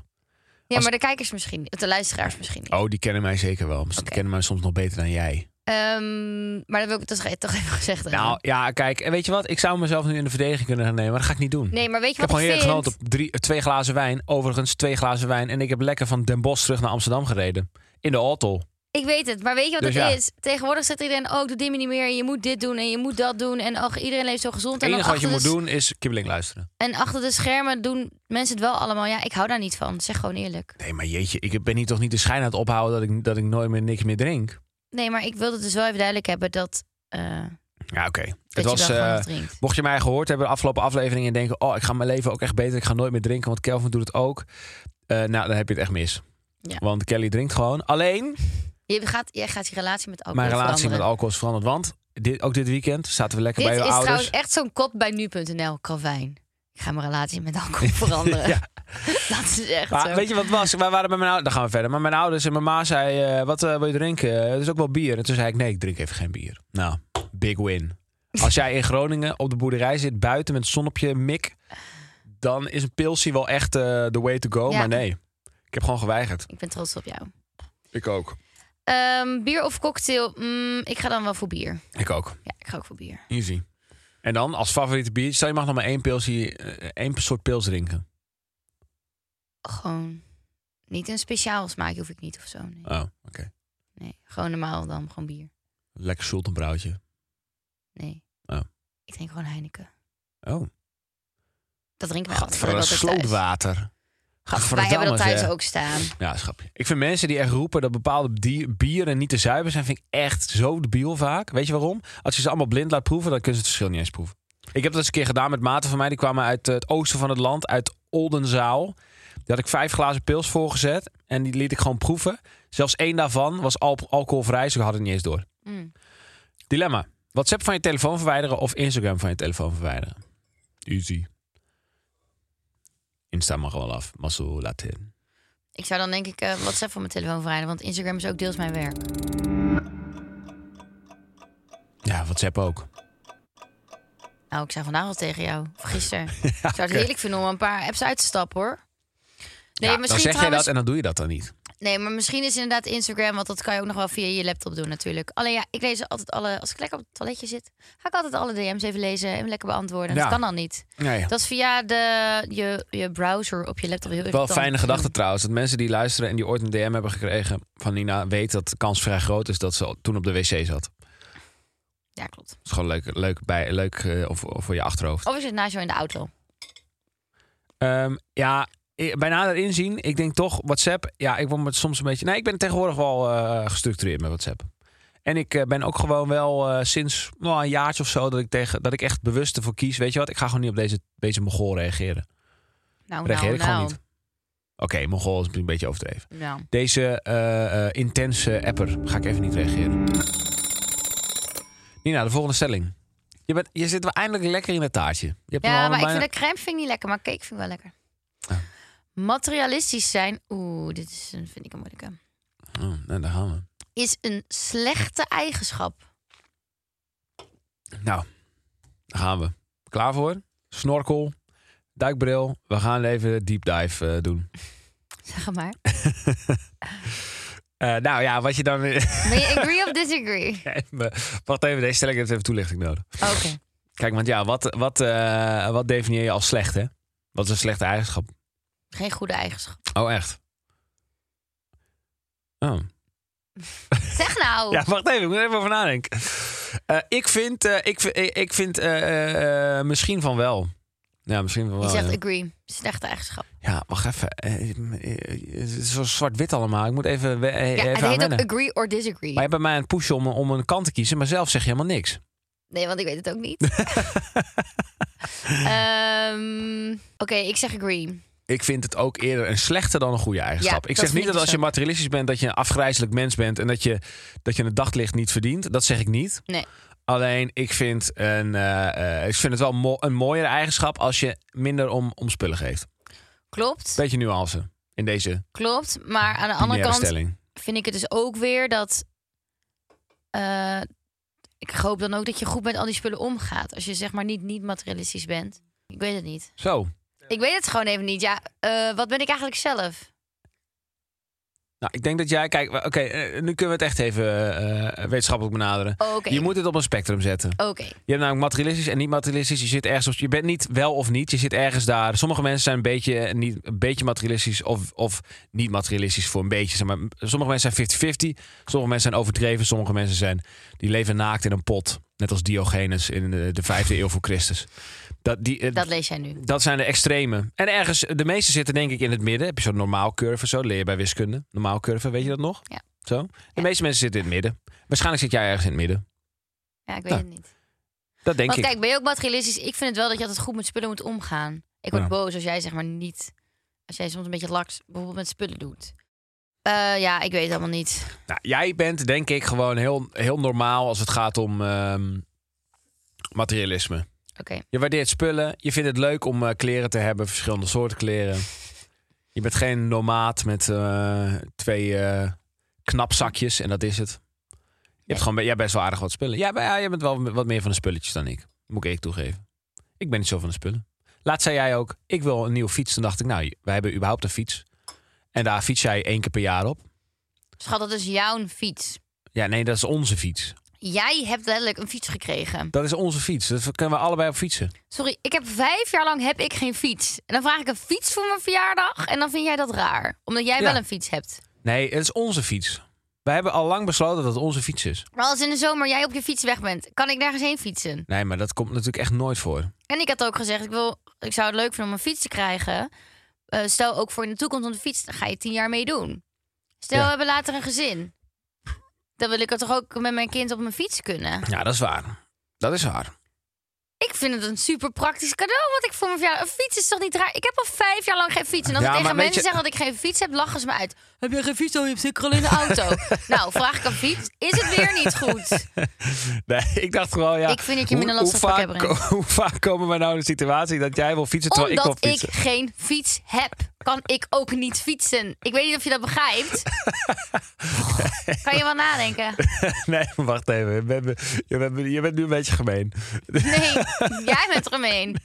Speaker 2: Ja,
Speaker 4: Als-
Speaker 2: maar de kijkers misschien niet, de luisteraars misschien niet.
Speaker 4: Oh, die kennen mij zeker wel. Ze
Speaker 2: Oké.
Speaker 4: kennen mij soms nog beter dan jij.
Speaker 2: Ehm, maar dat wil ik dat ga ik toch even gezegd hebben.
Speaker 4: Nou, ja, kijk, en weet je wat? Ik zou mezelf nu in de verdediging kunnen gaan nemen, maar dat ga ik niet doen.
Speaker 2: nee, maar weet
Speaker 4: ik
Speaker 2: je
Speaker 4: heb
Speaker 2: wat
Speaker 4: gewoon
Speaker 2: ik
Speaker 4: heerlijk
Speaker 2: vind?
Speaker 4: genoten op drie, eh, twee glazen wijn. Overigens, twee glazen wijn. En ik heb lekker van Den Bosch terug naar Amsterdam gereden. In de auto.
Speaker 2: Ik weet het, maar weet je wat
Speaker 4: Dus
Speaker 2: het
Speaker 4: ja.
Speaker 2: is? Tegenwoordig zegt iedereen, oh, doe dingen niet meer. En je moet dit doen en je moet dat doen. En och, iedereen leeft zo gezond.
Speaker 4: Het
Speaker 2: en dan
Speaker 4: enige wat je
Speaker 2: achter
Speaker 4: moet
Speaker 2: de s-
Speaker 4: doen is kibbeling luisteren.
Speaker 2: En achter de schermen doen mensen het wel allemaal. Ja, ik hou daar niet van. Zeg gewoon eerlijk.
Speaker 4: Nee, maar jeetje, ik ben hier toch niet de schijn aan het ophouden dat ik, dat ik nooit meer niks meer drink.
Speaker 2: Nee, maar ik wilde dus wel even duidelijk hebben dat, eh,
Speaker 4: Ja, oké.
Speaker 2: dat
Speaker 4: Het
Speaker 2: je
Speaker 4: was.
Speaker 2: wel gewoon
Speaker 4: eh,
Speaker 2: wat drinkt.
Speaker 4: Mocht je mij gehoord hebben de afgelopen afleveringen en denken: Oh, ik ga mijn leven ook echt beter. Ik ga nooit meer drinken, want Kelvin doet het ook. Eh, nou, dan heb je het echt mis.
Speaker 2: Ja.
Speaker 4: Want Kelly drinkt gewoon. Alleen
Speaker 2: Je gaat, jij gaat je relatie met alcohol
Speaker 4: mijn relatie
Speaker 2: veranderen.
Speaker 4: met alcohol is veranderd. Want dit, ook dit weekend zaten we lekker
Speaker 2: Dit
Speaker 4: bij
Speaker 2: is
Speaker 4: je ouders.
Speaker 2: trouwens echt zo'n kop bij nu.nl, Calvijn. Ik ga mijn relatie met alcohol veranderen.
Speaker 4: Ja.
Speaker 2: Dat is echt
Speaker 4: Maar
Speaker 2: zo.
Speaker 4: weet je wat het was? Wij waren bij mijn ouders. Dan gaan we verder. Maar mijn ouders en mijn ma zei: eh, Wat eh, wil je drinken? Eh, Het is ook wel bier. En toen zei ik: Nee, ik drink even geen bier. Nou, big win. Als jij in Groningen op de boerderij zit, buiten met een zonnetje, mik. dan is een pilsie wel echt de way to go.
Speaker 2: Ja.
Speaker 4: Maar nee, ik heb gewoon geweigerd.
Speaker 2: Ik ben trots op jou.
Speaker 4: Ik ook.
Speaker 2: Ehm, bier of cocktail? Mm, ik ga dan wel voor bier.
Speaker 4: Ik ook.
Speaker 2: Ja, ik ga ook voor bier.
Speaker 4: Easy. En dan als favoriete biertje, stel je mag nog maar één pilsie, eh, één soort pils drinken.
Speaker 2: Gewoon niet een speciaal smaakje hoef ik niet of zo. nee.
Speaker 4: Oh, oké.
Speaker 2: nee. Gewoon normaal dan, gewoon bier.
Speaker 4: Lekker schultenbrouwtje.
Speaker 2: Nee.
Speaker 4: Oh.
Speaker 2: Ik drink gewoon Heineken.
Speaker 4: Oh,
Speaker 2: Dat drinken we altijd.
Speaker 4: voor een
Speaker 2: dat heb ik thuis.
Speaker 4: slootwater.
Speaker 2: Wij hebben dat thuis
Speaker 4: zeg.
Speaker 2: ook staan.
Speaker 4: Ja, schapje. Ik vind mensen die echt roepen dat bepaalde die- bieren niet te zuiver zijn, vind ik echt zo debiel vaak. Weet je waarom? Als je ze allemaal blind laat proeven, dan kunnen ze het verschil niet eens proeven. Ik heb dat eens een keer gedaan met maten van mij. Die kwamen uit eh, het oosten van het land, uit Oldenzaal. Daar had ik vijf glazen pils voor gezet en die liet ik gewoon proeven. Zelfs één daarvan was al- alcoholvrij, ze hadden het niet eens door.
Speaker 2: Mm.
Speaker 4: Dilemma. WhatsApp van je telefoon verwijderen of Instagram van je telefoon verwijderen? Easy. Insta mag wel af, maar zo laat in.
Speaker 2: Ik zou dan denk ik eh, WhatsApp van mijn telefoon verwijderen, want Instagram is ook deels mijn werk.
Speaker 4: Ja, WhatsApp ook.
Speaker 2: Nou, ik zei vandaag al tegen jou, of gisteren. ik zou het
Speaker 4: oké.
Speaker 2: heerlijk vinden om een paar apps uit te stappen hoor. Nee,
Speaker 4: ja, dan
Speaker 2: misschien
Speaker 4: zeg
Speaker 2: trouwens,
Speaker 4: je dat en dan doe je dat dan niet.
Speaker 2: Nee, maar misschien is inderdaad Instagram, want dat kan je ook nog wel via je laptop doen natuurlijk. Alleen ja, ik lees altijd alle, als ik lekker op het toiletje zit, ga ik altijd alle DM's even lezen en lekker beantwoorden. Dat
Speaker 4: Ja.
Speaker 2: kan dan niet.
Speaker 4: Nee.
Speaker 2: Dat is via de, je, je browser op je laptop heel
Speaker 4: Wel
Speaker 2: irritant. Mm.
Speaker 4: een fijne gedachte trouwens. Dat mensen die luisteren en die ooit een DM hebben gekregen van Nina... weten dat de kans vrij groot is dat ze al toen op de wc zat. Dat
Speaker 2: Ja, klopt.
Speaker 4: is gewoon leuk, leuk, bij, leuk eh, of, of voor je achterhoofd.
Speaker 2: Of is het naast jou in de auto?
Speaker 4: Ehm, ja, i- bij nader inzien, ik denk toch WhatsApp. Ja, ik word me soms een beetje. Nee, ik ben tegenwoordig wel eh, gestructureerd met WhatsApp. En ik eh, ben ook gewoon wel eh, sinds nou, een jaartje of zo dat ik, tegen, dat ik echt bewust ervoor kies. Weet je wat? Ik ga gewoon niet op deze, deze Mongool reageren.
Speaker 2: Nou,
Speaker 4: Reageer
Speaker 2: nou,
Speaker 4: ik gewoon
Speaker 2: nou.
Speaker 4: niet. Oké, Mongool is een beetje overdreven.
Speaker 2: Nou.
Speaker 4: Deze eh, eh, intense apper ga ik even niet reageren. Nina, de volgende stelling. Je, bent, je zit wel eindelijk lekker in het taartje. Je hebt hem
Speaker 2: Ja,
Speaker 4: al
Speaker 2: maar ik
Speaker 4: bijna-
Speaker 2: vind de crème vind ik niet lekker, maar cake vind ik wel lekker.
Speaker 4: Ah.
Speaker 2: Materialistisch zijn, oeh, dit is een, vind ik een moeilijke.
Speaker 4: Oh, nou, daar gaan we.
Speaker 2: Is een slechte eigenschap.
Speaker 4: Nou, daar gaan we. Klaar voor? Snorkel, duikbril. We gaan even de deep dive eh, doen.
Speaker 2: Zeg maar.
Speaker 4: Eh, nou ja, wat je dan...
Speaker 2: Ben je agree of disagree?
Speaker 4: Wacht even, deze stelling heeft even toelichting nodig.
Speaker 2: Oké.
Speaker 4: Kijk, want ja, wat, wat, eh, wat definieer je als slecht, hè? Wat is een slechte eigenschap?
Speaker 2: Geen goede eigenschap.
Speaker 4: Oh, echt? Oh.
Speaker 2: Zeg nou.
Speaker 4: Ja, wacht even, ik moet er even over nadenken. Eh, ik vind, eh, ik, vind- ik vind eh, eh, eh, misschien van wel. Ja, misschien van wel.
Speaker 2: je
Speaker 4: ja.
Speaker 2: zegt agree. Slechte eigenschap.
Speaker 4: Ja, wacht even. Eh, eh, Het is zo zwart-wit allemaal. Ik moet even, we- eh,
Speaker 2: Ja,
Speaker 4: even
Speaker 2: het
Speaker 4: aan
Speaker 2: heet ook
Speaker 4: wennen.
Speaker 2: agree or disagree.
Speaker 4: Maar je hebt bij mij een push om, om een kant te kiezen, maar zelf zeg je helemaal niks.
Speaker 2: Nee, want ik weet het ook niet. Ehm, Oké, ik zeg agree.
Speaker 4: Ik vind het ook eerder een slechte dan een goede eigenschap.
Speaker 2: Ja,
Speaker 4: ik
Speaker 2: dat
Speaker 4: zeg
Speaker 2: vind
Speaker 4: niet
Speaker 2: ik
Speaker 4: dat
Speaker 2: dus
Speaker 4: als je
Speaker 2: ook.
Speaker 4: materialistisch bent, dat je een afgrijzelijk mens bent en dat je, dat je het daglicht niet verdient. Dat zeg ik niet.
Speaker 2: Nee.
Speaker 4: Alleen ik vind, een, eh, eh, ik vind het wel mo- een mooiere eigenschap als je minder om, om spullen geeft.
Speaker 2: Klopt.
Speaker 4: Beetje nuance in deze
Speaker 2: Klopt. Maar aan de andere
Speaker 4: andere
Speaker 2: kant
Speaker 4: stelling.
Speaker 2: vind ik het dus ook weer dat. eh, ik hoop dan ook dat je goed met al die spullen omgaat. Als je zeg maar niet, niet materialistisch bent. Ik weet het niet.
Speaker 4: Zo.
Speaker 2: Ik weet het gewoon even niet. Ja, eh, wat ben ik eigenlijk zelf?
Speaker 4: Nou, ik denk dat jij, kijk, oké, eh, nu kunnen we het echt even eh, wetenschappelijk benaderen.
Speaker 2: Oh, Oké.
Speaker 4: Je moet het op een spectrum zetten.
Speaker 2: Oké.
Speaker 4: Je hebt namelijk materialistisch en niet materialistisch. Je zit ergens op, je bent niet wel of niet. Je zit ergens daar. Sommige mensen zijn een beetje, niet, een beetje materialistisch of, of niet materialistisch voor een beetje. Zeg maar, sommige mensen zijn 50-50. Sommige mensen zijn overdreven. Sommige mensen zijn, die leven naakt in een pot. Net als Diogenes in de, de vijfde eeuw voor Christus. Dat, die, eh,
Speaker 2: Dat lees jij nu.
Speaker 4: dat zijn de extreme. En ergens, de meeste zitten denk ik in het midden. Heb je zo'n normaal curve, zo leer je bij wiskunde. Normaal curve, weet je dat nog?
Speaker 2: Ja.
Speaker 4: Zo? De
Speaker 2: Ja.
Speaker 4: meeste mensen zitten in het midden. Waarschijnlijk zit jij ergens in het midden.
Speaker 2: Ja, ik weet
Speaker 4: Ja,
Speaker 2: het niet.
Speaker 4: Dat denk
Speaker 2: Want
Speaker 4: ik.
Speaker 2: kijk, ben je ook materialistisch? Ik vind het wel dat je altijd goed met spullen moet omgaan. Ik word
Speaker 4: Ja.
Speaker 2: boos als jij zeg maar niet. Als jij soms een beetje laks bijvoorbeeld met spullen doet. Eh, ja, ik weet het allemaal niet.
Speaker 4: Nou, jij bent denk ik gewoon heel, heel normaal als het gaat om ehm, materialisme.
Speaker 2: Oké.
Speaker 4: Je waardeert spullen. Je vindt het leuk om eh, kleren te hebben, verschillende soorten kleren. Je bent geen nomaat met eh, twee eh, knapzakjes en dat is het. Je hebt gewoon, be- jij bent best wel aardig wat spullen. Ja, maar ja, jij bent wel wat meer van de spulletjes dan ik. Moet ik eerlijk toegeven. Ik ben niet zo van de spullen. Laatst zei jij ook, ik wil een nieuwe fiets. Toen dacht ik, nou, wij hebben überhaupt een fiets. En daar fiets jij één keer per jaar op.
Speaker 2: Schat, dat is jouw fiets.
Speaker 4: Ja, nee, dat is onze fiets.
Speaker 2: Jij hebt letterlijk een fiets gekregen.
Speaker 4: Dat is onze fiets. Dat kunnen we allebei op fietsen.
Speaker 2: Sorry, ik heb vijf jaar lang heb ik geen fiets. En dan vraag ik een fiets voor mijn verjaardag. En dan vind jij dat raar. Omdat jij
Speaker 4: Ja.
Speaker 2: wel een fiets hebt.
Speaker 4: Nee, het is onze fiets. Wij hebben al lang besloten dat het onze fiets is.
Speaker 2: Maar als in de zomer jij op je fiets weg bent, kan ik nergens heen fietsen.
Speaker 4: Nee, maar dat komt natuurlijk echt nooit voor.
Speaker 2: En ik had ook gezegd, ik, wil, ik zou het leuk vinden om een fiets te krijgen. Eh, stel ook voor in de toekomst om de fiets, dan ga je tien jaar mee doen. Stel,
Speaker 4: Ja.
Speaker 2: we hebben later een gezin. Dan wil ik er toch ook met mijn kind op mijn fiets kunnen.
Speaker 4: Ja, dat is waar. Dat is waar.
Speaker 2: Ik vind het een super praktisch cadeau wat ik voor mijn verjaardag... Een fiets is toch niet raar? Ik heb al vijf jaar lang geen fiets. En als
Speaker 4: Ja,
Speaker 2: ik tegen
Speaker 4: maar weet
Speaker 2: mensen
Speaker 4: je-
Speaker 2: zeg dat ik geen fiets heb, lachen ze me uit. Heb je geen fiets? Oh, je hebt zeker al in de auto. nou, vraag ik een fiets. Is het weer niet goed?
Speaker 4: Nee, ik dacht gewoon, ja.
Speaker 2: Ik vind dat je me in een
Speaker 4: hoe-
Speaker 2: lastig pak
Speaker 4: hoe
Speaker 2: hebt,
Speaker 4: vaak, hoe vaak komen wij nou in de situatie dat jij wil fietsen terwijl ik
Speaker 2: Omdat
Speaker 4: wil
Speaker 2: ik,
Speaker 4: fietsen?
Speaker 2: geen fiets heb, kan ik ook niet fietsen. Ik weet niet of je dat begrijpt. kan je wel nadenken?
Speaker 4: Nee, maar wacht even. Je bent, je, bent, je bent nu een beetje gemeen.
Speaker 2: Nee, jij bent eromheen.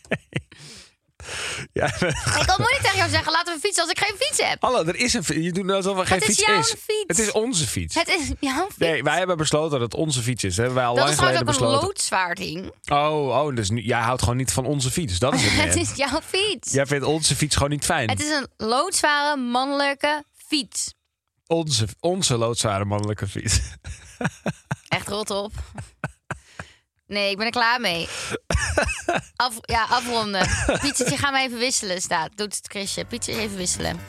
Speaker 4: Jij bent-
Speaker 2: Ik kan moeilijk tegen jou zeggen, laten we fietsen als ik geen fiets heb.
Speaker 4: Hallo, er is een fiets. Je doet alsof er geen
Speaker 2: is
Speaker 4: fiets
Speaker 2: jouw
Speaker 4: is.
Speaker 2: fiets.
Speaker 4: Het is onze fiets.
Speaker 2: Het is jouw fiets.
Speaker 4: Nee, wij hebben besloten dat het onze fiets is. Dat hebben wij al
Speaker 2: dat is
Speaker 4: lang
Speaker 2: trouwens
Speaker 4: geleden
Speaker 2: ook een
Speaker 4: besloten.
Speaker 2: loodzwaar ding.
Speaker 4: Oh, oh, dus nu, jij houdt gewoon niet van onze fiets. Dat is het.
Speaker 2: Het
Speaker 4: meer.
Speaker 2: is jouw fiets.
Speaker 4: Jij vindt onze fiets gewoon niet fijn.
Speaker 2: Het is een loodzware mannelijke fiets.
Speaker 4: Onze, onze loodzware mannelijke fiets.
Speaker 2: Echt rot op. Nee, ik ben er klaar mee. Af, ja, afronden. Pietertje, ga maar even wisselen, staat. Doet het Chrisje. Pietertje, even wisselen.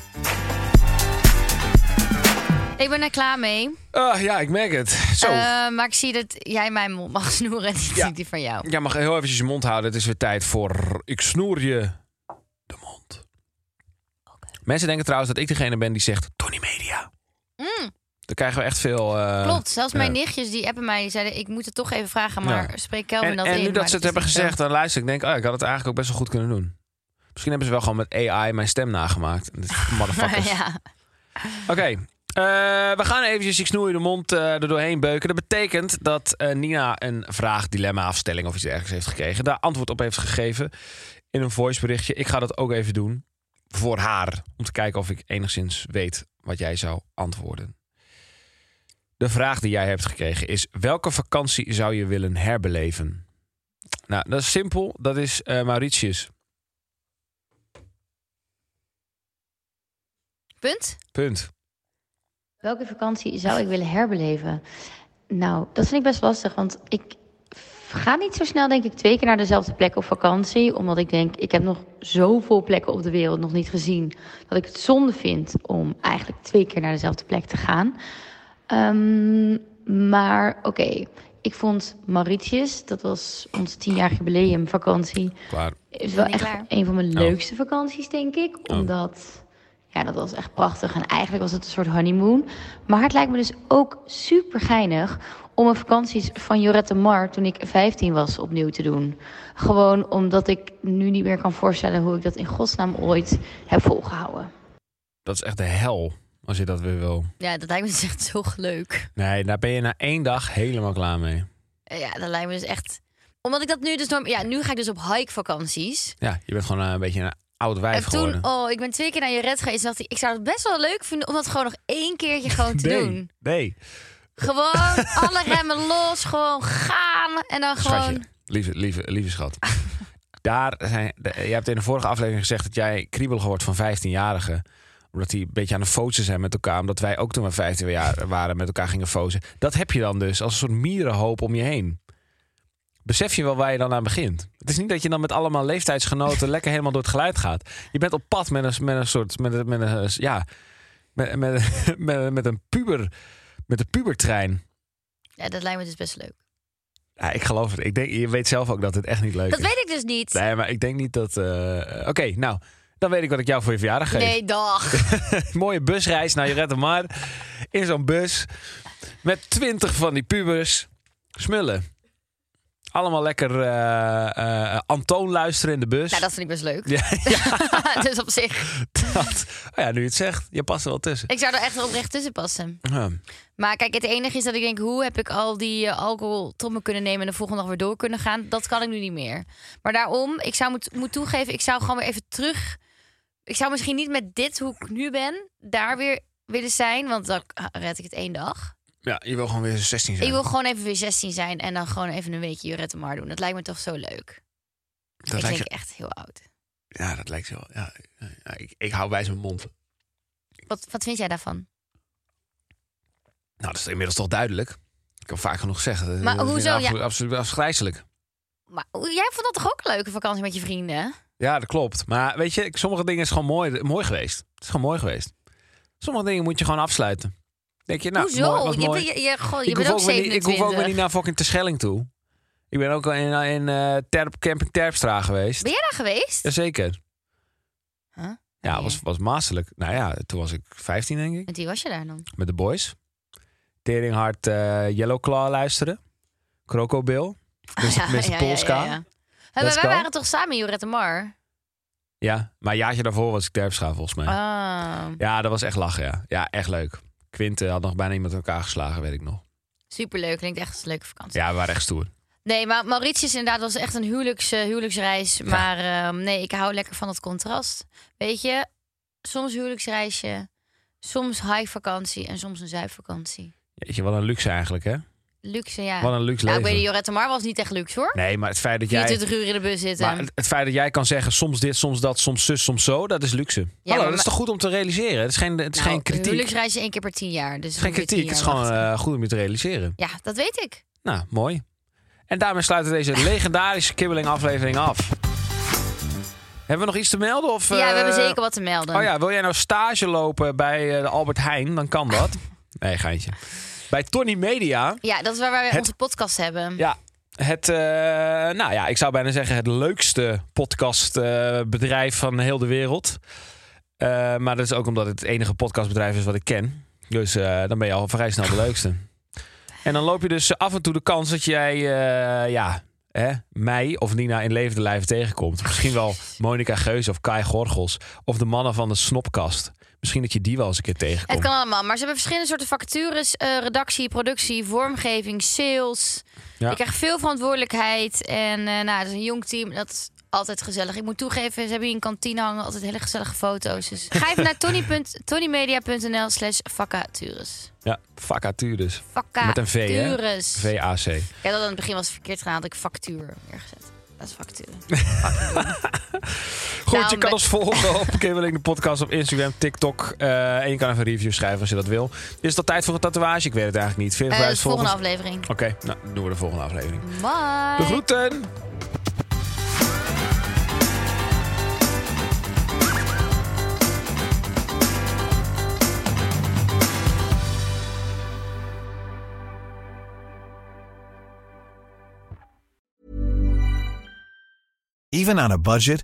Speaker 2: Ik ben er klaar mee.
Speaker 4: Ah, ja, ik merk het. Zo.
Speaker 2: Eh, maar ik zie dat jij mijn mond mag snoeren en niet die van jou.
Speaker 4: Jij mag heel eventjes je mond houden. Het is weer tijd voor Ik snoer je de mond. Mensen denken trouwens dat ik degene ben die zegt Tony Media.
Speaker 2: Mm.
Speaker 4: Dan krijgen we echt veel... eh,
Speaker 2: Klopt, zelfs mijn
Speaker 4: ja.
Speaker 2: nichtjes die appen mij, die zeiden... ik moet het toch even vragen, maar
Speaker 4: Ja.
Speaker 2: spreek Kelvin
Speaker 4: En,
Speaker 2: dat
Speaker 4: en
Speaker 2: in.
Speaker 4: nu
Speaker 2: maar
Speaker 4: dat ze het
Speaker 2: is
Speaker 4: hebben
Speaker 2: niet zo.
Speaker 4: gezegd, dan luister ik. denk, oh, ik had het eigenlijk ook best wel goed kunnen doen. Misschien hebben ze wel gewoon met AI mijn stem nagemaakt. En dit- Motherfuckers.
Speaker 2: ja.
Speaker 4: Oké. eh, we gaan eventjes ik snoer je de mond eh, er doorheen beuken. Dat betekent dat eh, Nina een vraag, dilemma, afstelling of iets dergelijks heeft gekregen. Daar antwoord op heeft gegeven in een voiceberichtje. Ik ga dat ook even doen voor haar. Om te kijken of ik enigszins weet wat jij zou antwoorden. De vraag die jij hebt gekregen is: welke vakantie zou je willen herbeleven? Nou, dat is simpel. Dat is eh, Mauritius.
Speaker 2: Punt.
Speaker 4: Punt.
Speaker 6: Welke vakantie zou ik willen herbeleven? Nou, dat vind ik best lastig, want ik ga niet zo snel, denk ik, twee keer naar dezelfde plek op vakantie. Omdat ik denk, ik heb nog zoveel plekken op de wereld nog niet gezien. Dat ik het zonde vind om eigenlijk twee keer naar dezelfde plek te gaan. Ehm, maar oké, ik vond Mauritius, dat was ons tienjarig jubileumvakantie,
Speaker 4: Klaar.
Speaker 6: is wel
Speaker 2: Ben ik
Speaker 6: echt
Speaker 2: klaar?
Speaker 6: een van mijn
Speaker 4: Oh.
Speaker 6: leukste vakanties, denk ik. Omdat, ja, dat was echt prachtig. En eigenlijk was het een soort honeymoon. Maar het lijkt me dus ook super geinig om een vakanties van Jorette Mar toen ik 15 was opnieuw te doen. Gewoon omdat ik nu niet meer kan voorstellen hoe ik dat in godsnaam ooit heb volgehouden.
Speaker 4: Dat is echt de hel als je dat weer wil.
Speaker 2: Ja, dat lijkt me dus echt zo leuk.
Speaker 4: Nee, daar ben je na één dag helemaal klaar mee.
Speaker 2: Eh, Ja, dat lijkt me dus echt... Omdat ik dat nu dus... Norm... Ja, nu ga ik dus op hikevakanties.
Speaker 4: Ja, je bent gewoon eh, een beetje een oud wijf
Speaker 2: En toen,
Speaker 4: geworden.
Speaker 2: oh, ik ben twee keer naar je red geweest. En dacht ik, ik zou het best wel leuk vinden om dat gewoon nog één keertje gewoon te
Speaker 4: nee,
Speaker 2: doen.
Speaker 4: nee.
Speaker 2: Gewoon alle remmen los, gewoon gaan. En dan
Speaker 4: Schatje,
Speaker 2: gewoon.
Speaker 4: lieve, lieve, lieve schat. Daar zijn, de- je hebt in de vorige aflevering gezegd dat jij kriebelig wordt van 15-jarigen. Omdat die een beetje aan de fozen zijn met elkaar. Omdat wij ook toen we 15 jaar waren met elkaar gingen fozen. Dat heb je dan dus als een soort mierenhoop om je heen. Besef je wel waar je dan aan begint? Het is niet dat je dan met allemaal leeftijdsgenoten lekker helemaal door het geluid gaat. Je bent op pad met een, met een soort. Met een, met een, ja, met, met, met, met een puber. Met een pubertrein.
Speaker 2: Ja, dat lijkt me dus best leuk.
Speaker 4: Ja, ik geloof het. Ik denk, je weet zelf ook dat het echt niet leuk
Speaker 2: Dat
Speaker 4: is.
Speaker 2: weet ik dus niet.
Speaker 4: Nee, maar ik denk niet dat. eh, Oké, nou, dan weet ik wat ik jou voor je verjaardag geef.
Speaker 2: Nee, dag.
Speaker 4: Mooie busreis naar Jorette Mar. In zo'n bus. Met twintig van die pubers. Smullen. Allemaal lekker eh, eh, Antoon luisteren in de bus.
Speaker 2: Nou, dat vind ik best leuk.
Speaker 4: Ja, ja,
Speaker 2: dus op zich,
Speaker 4: dat- oh ja, nu je het zegt, je past er wel tussen. Hm.
Speaker 2: ik zou er echt oprecht tussen passen.
Speaker 4: Ja.
Speaker 2: Maar kijk, het enige is dat ik denk, hoe heb ik al die eh, alcohol tot me kunnen nemen en de volgende dag weer door kunnen gaan? Dat kan ik nu niet meer. Maar daarom, ik zou moet, moet toegeven, ik zou gewoon weer even terug. Ik zou misschien niet met dit hoe ik nu ben, daar weer willen zijn, want dan ah, red ik het één dag.
Speaker 4: ja, je wil gewoon weer 16 zijn.
Speaker 2: Ik wil gewoon even weer 16 zijn en dan gewoon even een weekje Jurette maar doen. Dat lijkt me toch zo leuk.
Speaker 4: dat
Speaker 2: ik
Speaker 4: lijkt
Speaker 2: denk
Speaker 4: je-
Speaker 2: echt heel oud.
Speaker 4: Ja, dat lijkt je wel. Ja, ja, ik, ik hou bij zijn mond.
Speaker 2: Wat, wat vind jij daarvan?
Speaker 4: Nou, dat is inmiddels toch duidelijk. Ik kan vaak genoeg zeggen.
Speaker 2: Maar
Speaker 4: Dat is
Speaker 2: hoezo?
Speaker 4: Absoluut,
Speaker 2: Ja.
Speaker 4: absoluut afgrijzelijk.
Speaker 2: Maar jij vond dat toch ook een leuke vakantie met je vrienden?
Speaker 4: Ja, dat klopt. Maar weet je, sommige dingen is gewoon mooi, mooi geweest. Het is gewoon mooi geweest. Sommige dingen moet je gewoon afsluiten. Denk je, nou,
Speaker 2: Hoezo?
Speaker 4: mooi, was
Speaker 2: je
Speaker 4: mooi.
Speaker 2: bent- je, je, goh, je
Speaker 4: ik,
Speaker 2: bent
Speaker 4: hoef
Speaker 2: ook
Speaker 4: ook weer niet, ik
Speaker 2: 27.
Speaker 4: hoef ook weer niet naar fucking Terschelling toe. Ik ben ook al in, in eh, Terp, Camping Terpstra geweest.
Speaker 2: Ben jij daar geweest?
Speaker 4: Jazeker.
Speaker 2: Huh?
Speaker 4: Ja, was, was maastelijk. Nou ja, toen was ik 15, denk ik.
Speaker 2: Met wie was je daar dan?
Speaker 4: Met de boys. Teringhard eh Yellow Claw luisteren. Croco Bill. Dus met Polska. Ja,
Speaker 2: Hey, maar
Speaker 4: Let's
Speaker 2: wij
Speaker 4: go.
Speaker 2: waren toch samen in Jurette Mar?
Speaker 4: maar een jaartje daarvoor was ik Terpstra volgens mij.
Speaker 2: Ah,
Speaker 4: Ja, dat was echt lachen, ja. Ja, echt leuk. Quinte had nog bijna iemand in elkaar geslagen, weet ik nog.
Speaker 2: superleuk. Klinkt echt als een leuke vakantie.
Speaker 4: Ja, we waren echt stoer.
Speaker 2: Nee, maar Mauritius inderdaad was echt een huwelijks, eh, huwelijksreis. Maar ehm, nee, ik hou lekker van het contrast. Weet je, soms huwelijksreisje, soms high vakantie en soms een zuidvakantie.
Speaker 4: Jeetje, wat een luxe eigenlijk, hè?
Speaker 2: Luxe, ja.
Speaker 4: Wat een luxe
Speaker 2: nou, ik weet
Speaker 4: leven.
Speaker 2: niet, Jorette Mar was niet echt luxe hoor.
Speaker 4: Nee, maar het feit dat jij...
Speaker 2: 24 uur in de bus zitten.
Speaker 4: Maar het, het feit dat jij kan zeggen soms dit, soms dat, soms zus, soms zo, dat is luxe.
Speaker 2: maar-
Speaker 4: Hallo, dat is toch goed om te realiseren? Het is geen, het is
Speaker 2: Nou,
Speaker 4: geen kritiek.
Speaker 2: Huwelijksreisje één keer per tien jaar. Dus
Speaker 4: Het is geen
Speaker 2: ongeveer tien
Speaker 4: kritiek, het is
Speaker 2: jaar
Speaker 4: gewoon
Speaker 2: wachten.
Speaker 4: eh, goed om je te realiseren.
Speaker 2: Ja, dat weet ik.
Speaker 4: Nou, mooi. En daarmee sluiten we deze legendarische kibbeling aflevering af. Hebben we nog iets te melden? Of,
Speaker 2: ja, we
Speaker 4: eh,
Speaker 2: hebben zeker wat te melden.
Speaker 4: Oh ja, wil jij nou stage lopen bij eh, de Albert Heijn? Dan kan dat. nee, geintje. Bij Tony Media.
Speaker 2: Ja, dat is waar wij
Speaker 4: Het-
Speaker 2: onze podcast hebben.
Speaker 4: Ja, het, eh, nou ja, ik zou bijna zeggen het leukste podcastbedrijf van heel de wereld. Eh, maar dat is ook omdat het het enige podcastbedrijf is wat ik ken. Dus eh, dan ben je al vrij snel de leukste. En dan loop je dus af en toe de kans dat jij, eh, ja, hè, mij of Nina in levende lijf tegenkomt. Misschien wel Monica Geus of Kai Gorgels of de mannen van de Snopkast. Misschien dat je die wel eens een keer tegenkomt.
Speaker 2: Het kan allemaal, maar ze hebben verschillende soorten vacatures. eh, redactie, productie, vormgeving, sales.
Speaker 4: Ja.
Speaker 2: Ik krijg veel verantwoordelijkheid. En eh, nou, het is een jong team, dat is altijd gezellig. Ik moet toegeven, ze hebben hier een kantine hangen. Altijd hele gezellige foto's. Dus ga even naar tony.- tonymedia.nl slash vacatures.
Speaker 4: Ja, vacatures.
Speaker 2: Vacatures.
Speaker 4: Met een V, hè? V-A-C.
Speaker 2: Ik had dat aan het begin was het verkeerd gedaan, had ik factuur neergezet. Dat is factuur.
Speaker 4: Goed,
Speaker 2: Nou,
Speaker 4: je kan
Speaker 2: we-
Speaker 4: ons volgen op Kimmeling de podcast op Instagram, TikTok. eh, en je kan even een review schrijven als je dat wil. Is dat tijd voor een tatoeage? Ik weet het eigenlijk niet. Vind je
Speaker 2: Eh,
Speaker 4: het
Speaker 2: dus
Speaker 4: volgend-
Speaker 2: volgende aflevering.
Speaker 4: Oké, nou doen we de volgende aflevering.
Speaker 2: Bye!
Speaker 4: De groeten!
Speaker 7: Even on a budget,